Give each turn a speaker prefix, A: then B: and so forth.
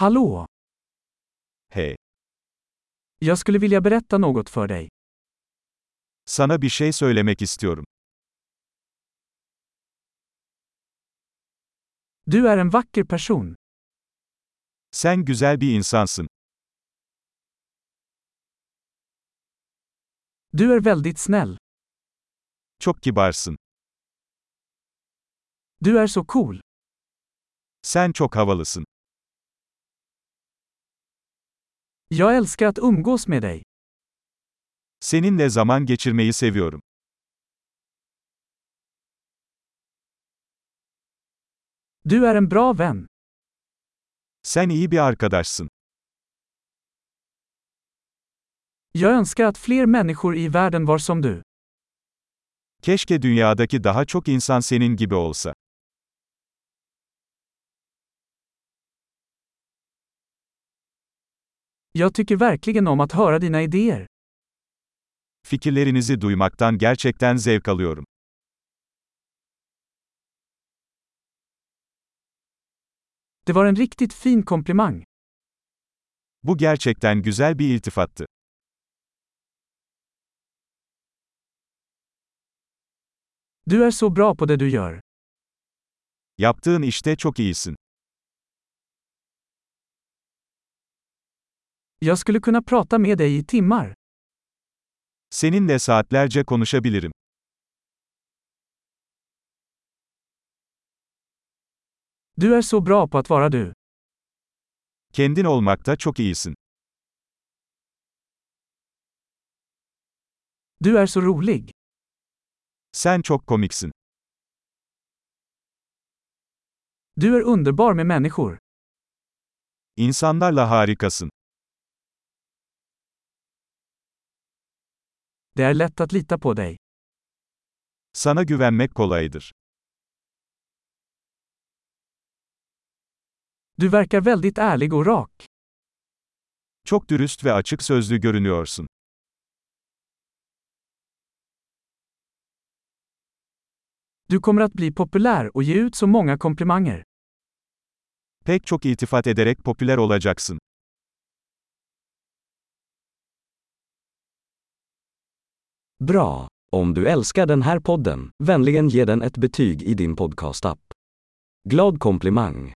A: Hallå!
B: Hey,
A: Jag skulle vilja berätta något för dig.
B: sana bir şey söylemek istiyorum.
A: Du är en vacker person.
B: Sen güzel bir insansın.
A: Du är väldigt snäll.
B: Çok kibarsın.
A: Du är så cool.
B: Sen çok havalısın.
A: Jag älskar att umgås med dig.
B: Seninle zaman geçirmeyi seviyorum.
A: Du är en bra vän.
B: Sen iyi bir arkadaşsın.
A: Jag önskar att fler människor i världen var som du.
B: Keşke dünyadaki daha çok insan senin gibi olsa.
A: Jag tycker verkligen om att höra dina idéer.
B: Fikirlerinizi duymaktan gerçekten zevk alıyorum.
A: Det var en riktigt fin komplimang.
B: Bu gerçekten güzel bir iltifattı.
A: Du är så bra på det du gör.
B: Yaptığın işte çok iyisin.
A: Jag skulle kunna prata med dig i timmar.
B: Seninle saatlerce konuşabilirim.
A: Du är så bra på att vara du.
B: Kendin olmakta çok iyisin.
A: Du är så rolig.
B: Sen çok komiksin.
A: Du är underbar med människor.
B: İnsanlarla harikasın.
A: Det är lätt att lita på dig.
B: Sana güvenmek kolaydır.
A: Du verkar väldigt ärlig och rak.
B: Çok dürüst ve açık sözlü görünüyorsun.
A: Du kommer att bli populär och ge ut så många komplimanger.
B: Pek çok iltifat ederek popüler olacaksın.
C: Bra! Om du älskar den här podden, vänligen ge den ett betyg i din podcastapp. Glad komplimang!